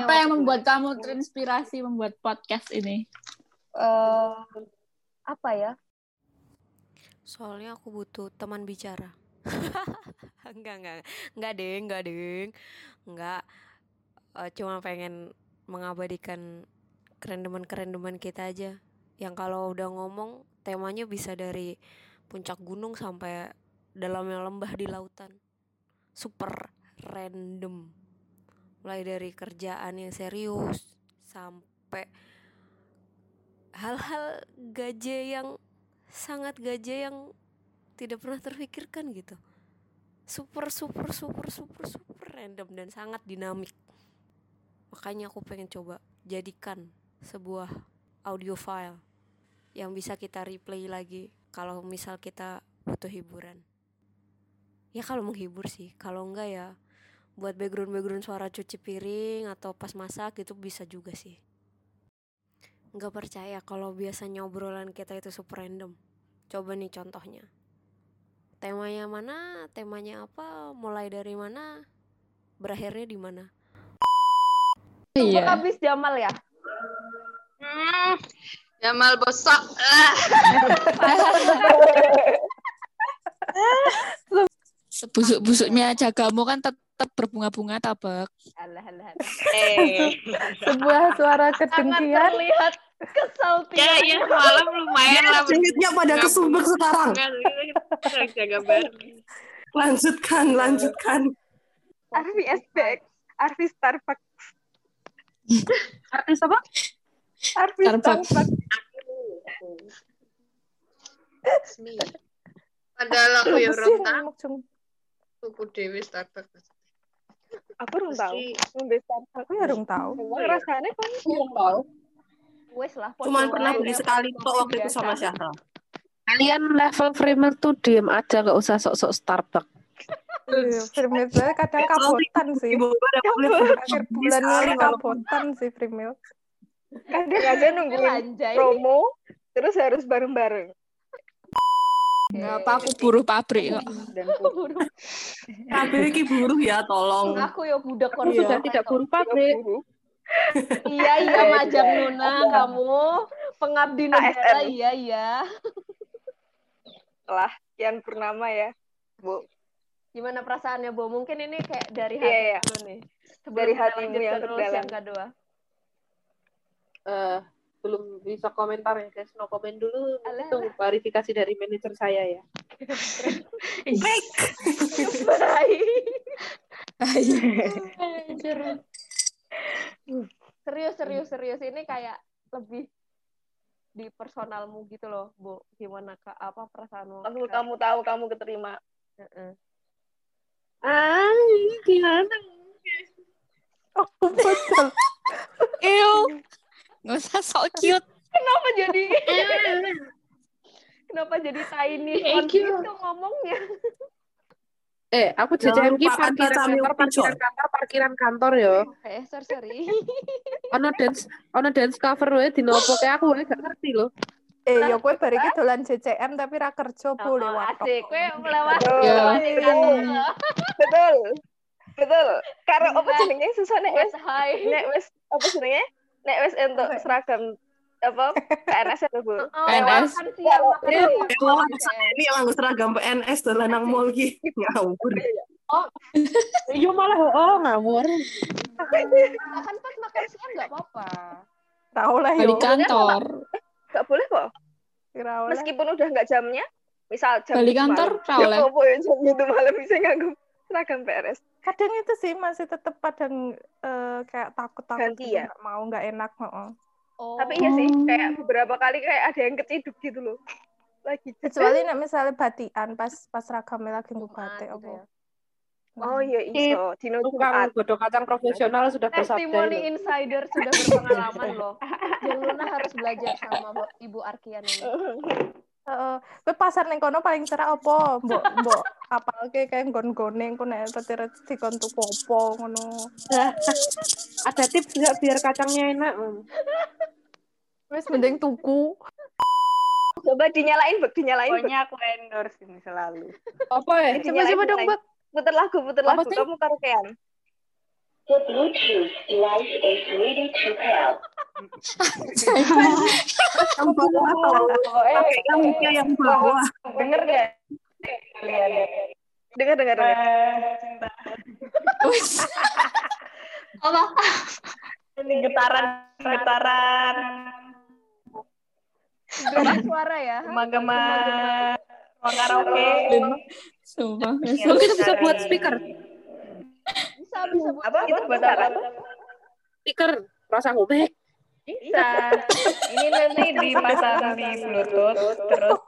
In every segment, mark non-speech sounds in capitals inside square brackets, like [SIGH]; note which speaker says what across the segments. Speaker 1: yang membuat kamu terinspirasi membuat podcast ini?
Speaker 2: Eh, apa ya?
Speaker 3: Soalnya aku butuh teman bicara. [LAUGHS] enggak, enggak, enggak ding, enggak ding. Enggak Eh, cuma pengen mengabadikan kerendeman-kerendeman kita aja. Yang kalau udah ngomong temanya bisa dari puncak gunung sampai dalamnya lembah di lautan. Super random. Mulai dari kerjaan yang serius sampai hal-hal gaje yang sangat gaje yang tidak pernah terpikirkan gitu super super super super super random dan sangat dinamik makanya aku pengen coba jadikan sebuah audio file yang bisa kita replay lagi kalau misal kita butuh hiburan ya kalau menghibur sih kalau enggak ya buat background background suara cuci piring atau pas masak itu bisa juga sih nggak percaya kalau biasanya obrolan kita itu super random coba nih contohnya temanya mana temanya apa mulai dari mana berakhirnya di mana
Speaker 1: Iya.
Speaker 4: Iya.
Speaker 2: Tembak habis Jamal ya?
Speaker 5: Hmm, Jamal bosok. Ah,
Speaker 1: Sebusuk-busuknya jagamu kan tetap berbunga-bunga tabak.
Speaker 2: Alah, alah, alah.
Speaker 5: eh.
Speaker 4: Ah,
Speaker 6: Sebuah suara
Speaker 2: Sangat
Speaker 6: kedengkian.
Speaker 2: terlihat kesal
Speaker 5: ya, ya malam lumayan lah.
Speaker 4: Kulitnya pada
Speaker 5: Nggak-
Speaker 4: kesubek sekarang.
Speaker 5: Nggak, kita harus jaga bareng.
Speaker 4: Lanjutkan, lanjutkan.
Speaker 6: Arfi SBX. Arfi Starbucks.
Speaker 7: Artis apa?
Speaker 6: Arfi
Speaker 1: Starbucks.
Speaker 6: Starbucks.
Speaker 5: It's me. Padahal aku ya
Speaker 6: Apa sih
Speaker 5: orang
Speaker 6: yang ngomong jeng-
Speaker 5: tahu aku Dewi Starbucks.
Speaker 6: Aku belum tahu.
Speaker 5: Pasti-
Speaker 6: Ngombe Starbucks. Aku ya belum tahu.
Speaker 5: Iya.
Speaker 6: Rasanya kan
Speaker 2: Wes lah. pokoknya
Speaker 4: Cuman pernah beli
Speaker 2: udah
Speaker 4: sekali kok waktu itu
Speaker 2: biasa.
Speaker 4: sama Syahra.
Speaker 7: Kalian level primer tuh diem aja, gak usah sok-sok Starbucks.
Speaker 6: Iya, Primil sebenarnya kadang kabotan sih.
Speaker 4: Ibu gue udah beli
Speaker 6: [LAUGHS] Akhir bulan
Speaker 4: Sekali
Speaker 6: ini
Speaker 4: kalau-
Speaker 6: kabotan sih Primil.
Speaker 8: kadang aja
Speaker 2: Mil,
Speaker 8: nungguin
Speaker 2: Anjay. [LAUGHS]
Speaker 8: promo terus harus bareng-bareng
Speaker 1: Nggak apa aku buruh pabrik kok.
Speaker 8: dan pun
Speaker 2: Buruk.
Speaker 4: Tapi ini buruh ya, tolong.
Speaker 2: Aku ya budak korban.
Speaker 4: Iya.
Speaker 7: Sudah tidak buru pabrik.
Speaker 2: Iya iya majang Nuna
Speaker 4: Iya.
Speaker 2: kamu
Speaker 8: Ah,
Speaker 2: pengabdi negara
Speaker 8: ASN.
Speaker 2: iya iya.
Speaker 8: Kian Purnama ya Bu
Speaker 2: Gimana perasaannya Bu? Mungkin ini kayak dari
Speaker 8: Iya,
Speaker 2: hati
Speaker 8: iya.
Speaker 2: dulu nih. Sebelum
Speaker 8: Dari
Speaker 2: kita
Speaker 8: hatimu yang
Speaker 2: lanjutkan rules
Speaker 8: terdalam.
Speaker 2: Yang kedua.
Speaker 9: eh belum bisa komentar ya guys no komen dulu
Speaker 2: Alah.
Speaker 9: tunggu klarifikasi dari manajer saya ya
Speaker 2: serius serius serius ini kayak lebih di personalmu gitu loh Bu. Gimana ke apa perasaanmu?
Speaker 8: langsung kamu tahu kamu keterima
Speaker 2: Heeh.
Speaker 9: ah gimana
Speaker 1: Ew. Nggak usah sok cute.
Speaker 2: Kenapa jadi Kenapa jadi tiny font
Speaker 9: Thank you.
Speaker 2: gitu ngomongnya?
Speaker 9: eh aku
Speaker 4: Jangan
Speaker 9: jajan ki
Speaker 4: lupakan
Speaker 9: parkiran
Speaker 4: kacamil
Speaker 9: kantor parkiran
Speaker 4: pijon.
Speaker 9: kantor parkiran kantor yo
Speaker 2: Eh, sorry, sorry.
Speaker 9: ono dance ono dance cover wae dinopo kayak aku wae gak ngerti loh
Speaker 6: Eh, ya gue bareng iki dolan CCM tapi ra kerja
Speaker 2: Oh,
Speaker 6: boleh watok.
Speaker 2: asik. Kue melewat
Speaker 1: Iya.
Speaker 2: yeah.
Speaker 8: betul betul karo apa
Speaker 2: Nah.
Speaker 8: jenenge susah nek wes
Speaker 2: high.
Speaker 8: nek wes apa jenenge nek wes entuk seragam apa PNS ya Bu
Speaker 2: Oh,
Speaker 1: PNS.
Speaker 2: makan siang, makan
Speaker 8: Iya.
Speaker 2: siang.
Speaker 4: Eh, wah, ini yang nganggo seragam PNS dolan nang mall Ya iki. Ngawur.
Speaker 7: Iya malah oh ngawur.
Speaker 2: Makan pas makan siang nggak apa-apa.
Speaker 6: Ra oleh
Speaker 1: Balik
Speaker 6: yo.
Speaker 1: kantor.
Speaker 8: gak boleh kok
Speaker 6: Ra oleh.
Speaker 8: meskipun udah gak jamnya misal jam
Speaker 1: Balik
Speaker 8: itu
Speaker 1: kantor
Speaker 8: malam.
Speaker 1: ra
Speaker 8: Ya,
Speaker 1: oleh.
Speaker 8: apa ya, jam itu malam bisa nganggo seragam PNS
Speaker 6: Kadang itu sih masih tetap kadang eh, kayak takut-takut
Speaker 8: Ganti ya?
Speaker 6: gitu, nggak mau nggak enak, heeh.
Speaker 2: Oh.
Speaker 8: tapi iya sih kayak beberapa kali kayak ada yang keciduk gitu loh lagi
Speaker 6: Kecuali nek misalnya batian pas pas ragamnya lagi nggo
Speaker 2: Jumat
Speaker 6: batik
Speaker 2: gitu
Speaker 6: apa.
Speaker 2: ya.
Speaker 6: Nah,
Speaker 8: oh iya iso dino
Speaker 9: tukang
Speaker 8: Jumat
Speaker 9: godok kacang profesional sudah
Speaker 2: Testimoni
Speaker 9: bersabda
Speaker 2: insider sudah berpengalaman loh. Yang Luna harus belajar sama Bu- Ibu Arkian ini.
Speaker 6: Heeh. Kowe pasar ning kono paling cerah apa? Mbok mbok apalke kayak nggon-gone engko nek petir dikon tuku apa ngono.
Speaker 9: ada tips nggak biar kacangnya enak Hmm.
Speaker 6: Wis mending tuku.
Speaker 8: coba dinyalain bek dinyalain bek
Speaker 7: Pokoknya aku endorse ini selalu.
Speaker 9: apa ya
Speaker 8: Dinyalain,
Speaker 6: Coba-coba dong,
Speaker 8: dinyalain.
Speaker 6: Bek.
Speaker 8: puter lagu puter
Speaker 9: Apa
Speaker 8: lagu
Speaker 9: sih?
Speaker 8: kamu karaokean
Speaker 4: yang bawah
Speaker 8: eh,
Speaker 4: yang muka yang bawah
Speaker 8: denger gak? Dengar, dengar, dengar.
Speaker 2: Ini getaran, getaran. Getaran suara ya. Gema-gema. Ruang karaoke.
Speaker 1: Sumpah.
Speaker 9: Oh, kita bisa buat speaker.
Speaker 2: Bisa, bisa buat
Speaker 8: Apa?
Speaker 2: gitu,
Speaker 8: Buat
Speaker 2: bisa,
Speaker 8: apa?
Speaker 2: Pak.
Speaker 9: Speaker rasa ngobek.
Speaker 8: Bisa. Ini nanti dipasang di Bluetooth, terus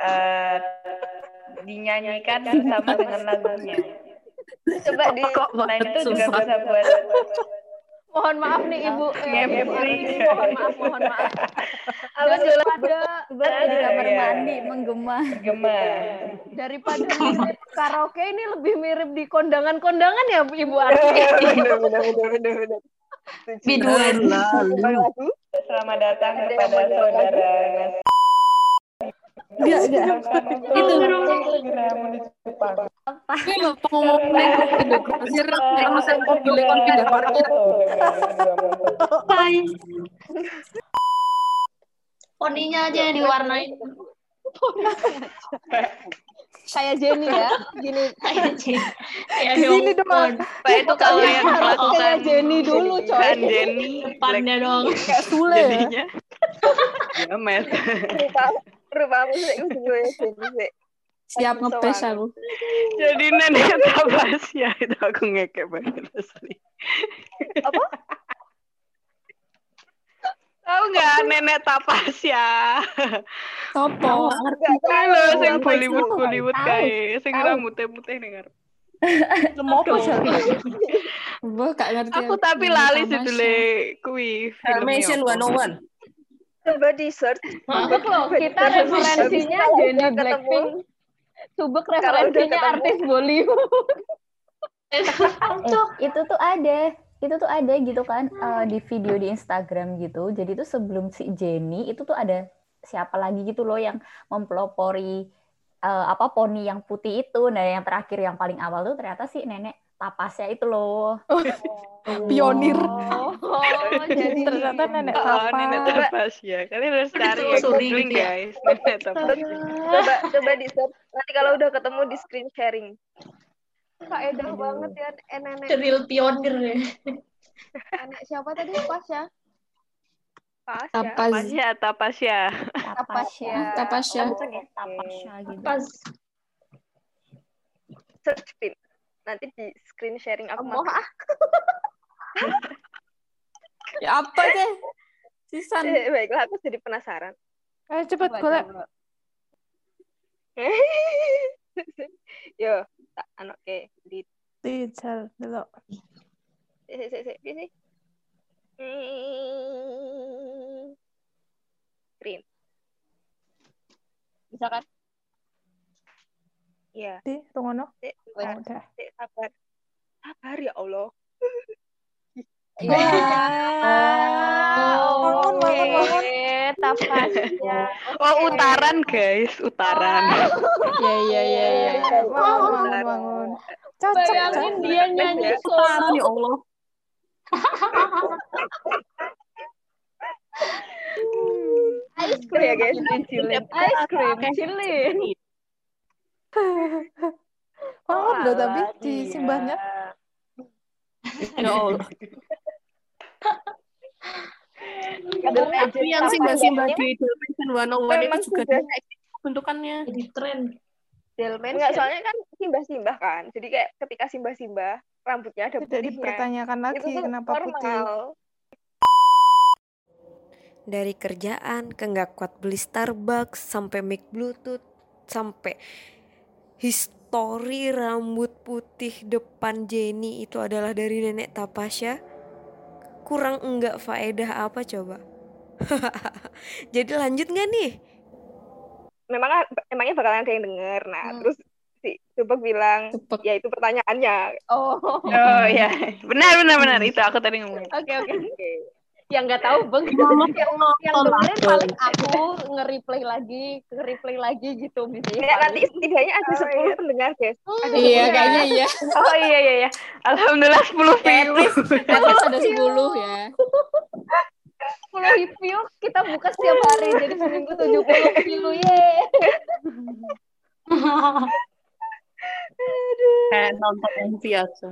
Speaker 8: eh, dinyanyikan bersama dengan lagunya. Coba di
Speaker 9: Kok
Speaker 8: nah
Speaker 9: banget,
Speaker 8: itu juga
Speaker 9: sumpah.
Speaker 8: bisa buat
Speaker 2: Mohon maaf nih Ibu. Eh,
Speaker 8: Ngepri.
Speaker 2: Bu Arini, mohon maaf, mohon maaf. Daripada, Iya,
Speaker 8: di kamar mandi
Speaker 10: menggema.
Speaker 8: gema.
Speaker 2: daripada mirip karaoke ini lebih mirip di kondangan-kondangan ya Bu- Ibu Arini. [LAUGHS]
Speaker 8: Bener, bener, bener, bener.
Speaker 4: Biduan.
Speaker 8: Selamat datang kepada saudara Nas.
Speaker 9: Enggak, enggak. Itu.
Speaker 8: Segera menuju Jepang.
Speaker 9: Ini loh pengumuman ini. Mesir kalau saya mau beli kon pindah parkir.
Speaker 5: Poninya aja yang diwarnain.
Speaker 2: Kayak Jenny ya. Gini.
Speaker 5: Ya,
Speaker 6: Di sini dong. Mas.
Speaker 8: Pak itu kalau yang
Speaker 2: Harus kayak
Speaker 8: melakukan
Speaker 2: Jenny dulu coy.
Speaker 8: kan Jenny
Speaker 5: Depannya dong.
Speaker 6: Kayak Sule ya.
Speaker 8: jadinya gemes.
Speaker 2: Rupamu sih gue sih.
Speaker 1: Siap ngepes aku.
Speaker 8: Jadi nenek tabas ya itu aku ngekek banget asli.
Speaker 2: Apa?
Speaker 8: Tahu nggak nenek tapas ya?
Speaker 1: Sopo.
Speaker 8: Halo, sing Bollywood Bollywood kae, sing rambutnya putih dengar.
Speaker 6: Mau apa sih?
Speaker 1: Gue gak ngerti.
Speaker 8: Aku tapi lali sedule kuwi ya
Speaker 4: Formation
Speaker 8: filmnya.
Speaker 4: 101
Speaker 8: Coba di search.
Speaker 2: Subek loh, kita referensinya Jenny Blackpink. Subek referensinya
Speaker 8: ketemu.
Speaker 2: artis Bollywood.
Speaker 10: Eh, itu tuh ada, itu tuh ada gitu kan eh, di video di Instagram gitu. Jadi tuh sebelum si Jenny itu tuh ada siapa lagi gitu loh yang mempelopori eh, apa poni yang putih itu. Nah, yang terakhir yang paling awal tuh ternyata si nenek tapasnya itu loh.
Speaker 6: Pionir. [LAUGHS]
Speaker 2: Oh, jadi
Speaker 6: Ternyata nenek
Speaker 8: Oh, nenek
Speaker 6: apa?
Speaker 8: tapas ya. Kalian harus cari ya,
Speaker 5: Ditelusuri
Speaker 8: googling
Speaker 5: gitu ya.
Speaker 8: guys. Nenek ya. tapas.
Speaker 2: coba coba di search. Nanti kalau udah ketemu di screen sharing. Faedah banget ya eh, nenek
Speaker 5: Ceril pionir ya.
Speaker 2: nenek siapa tadi pas ya?
Speaker 8: Pas ya.
Speaker 1: Tapas.
Speaker 8: Pas ya, tapas ya.
Speaker 10: Tapasnya.
Speaker 1: Tapasya.
Speaker 10: Tapasya gitu.
Speaker 5: Pas.
Speaker 8: Search pin. Nanti di screen sharing aku
Speaker 2: Mau
Speaker 8: [LAUGHS]
Speaker 2: ah
Speaker 1: Ya apa deh? Sisan.
Speaker 8: Eh, baiklah aku jadi penasaran.
Speaker 6: Eh cepet golek.
Speaker 8: Yo, tak anu oke di
Speaker 6: Dijal delok.
Speaker 8: si si si si, si. Hmm. Green.
Speaker 2: bisa kan?
Speaker 8: Iya,
Speaker 6: Di rungono.
Speaker 8: sik,
Speaker 6: Oh,
Speaker 8: sabar,
Speaker 6: udah.
Speaker 8: sik, sabar. Sabar ya Allah. Iya.
Speaker 2: Iya.
Speaker 6: Bangun, bangun, bangun.
Speaker 2: tapasnya.
Speaker 8: [LAUGHS] Oh, utaran guys, utaran.
Speaker 1: Ya
Speaker 8: Iya,
Speaker 1: ya ya ya.
Speaker 6: Bangun, bangun, bangun. Cocok.
Speaker 2: Bayangin
Speaker 6: cocok.
Speaker 8: Iya,
Speaker 2: dia nyanyi solo.
Speaker 4: ya Allah
Speaker 2: Ice
Speaker 8: Itu ya
Speaker 2: cream.
Speaker 8: guys, dicilin.
Speaker 2: Ice cream.
Speaker 6: gitu.
Speaker 2: Chilin.
Speaker 6: Bangun loh tapi di simbahnya.
Speaker 4: ya Allah
Speaker 8: Tapi
Speaker 6: gitu.
Speaker 4: tapi yang simbah-simbah di Formation 101 itu
Speaker 8: Memang
Speaker 4: juga gitu
Speaker 8: sudah
Speaker 4: bentukannya
Speaker 5: Jadi tren.
Speaker 2: Delman.
Speaker 8: Enggak, soalnya kan simbah-simbah kan. Jadi kayak ketika simbah-simbah rambutnya ada
Speaker 6: Tidak
Speaker 8: putihnya.
Speaker 6: dipertanyakan
Speaker 8: Itu
Speaker 6: lagi
Speaker 8: tuh
Speaker 6: kenapa putih.
Speaker 8: normal.
Speaker 3: dari kerjaan ke nggak kuat beli Starbucks sampai mic Bluetooth sampai histori rambut putih depan Jenny itu adalah dari nenek Tapasya kurang enggak faedah apa coba [LAUGHS] jadi lanjut nggak nih
Speaker 8: Memang emangnya bakalan ada yang denger. Nah, terus si Subek bilang,
Speaker 1: Cepet.
Speaker 8: "Ya itu pertanyaannya."
Speaker 2: Oh.
Speaker 8: [LAUGHS] Oh iya. Benar benar benar itu aku tadi ngomong.
Speaker 2: Oke oke.
Speaker 8: Oke.
Speaker 2: yang nggak tahu bang
Speaker 7: Mama
Speaker 2: yang, yang
Speaker 7: nonton
Speaker 2: dengerin
Speaker 7: aku.
Speaker 2: paling aku nge-replay lagi nge-replay lagi gitu bisa
Speaker 8: Nek, nanti setidaknya ada 10 pendengar guys.
Speaker 2: "Hmm,
Speaker 8: Ada
Speaker 1: Iya,
Speaker 8: 10. [LAUGHS]
Speaker 1: kayaknya iya.
Speaker 8: iya. Oh iya iya iya. Alhamdulillah 10 view.
Speaker 1: At least ada 10 ya.
Speaker 2: 10 view kita buka setiap hari jadi seminggu 70 [LAUGHS] view ye
Speaker 4: Iya,
Speaker 7: Kayak nonton yang biasa.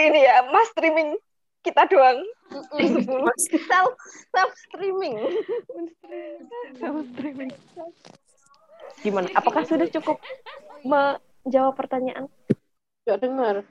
Speaker 8: Ini ya, Mas streaming kita doang.
Speaker 2: self self streaming
Speaker 8: Gimana? Apakah sudah cukup menjawab pertanyaan?
Speaker 9: Gak dengar.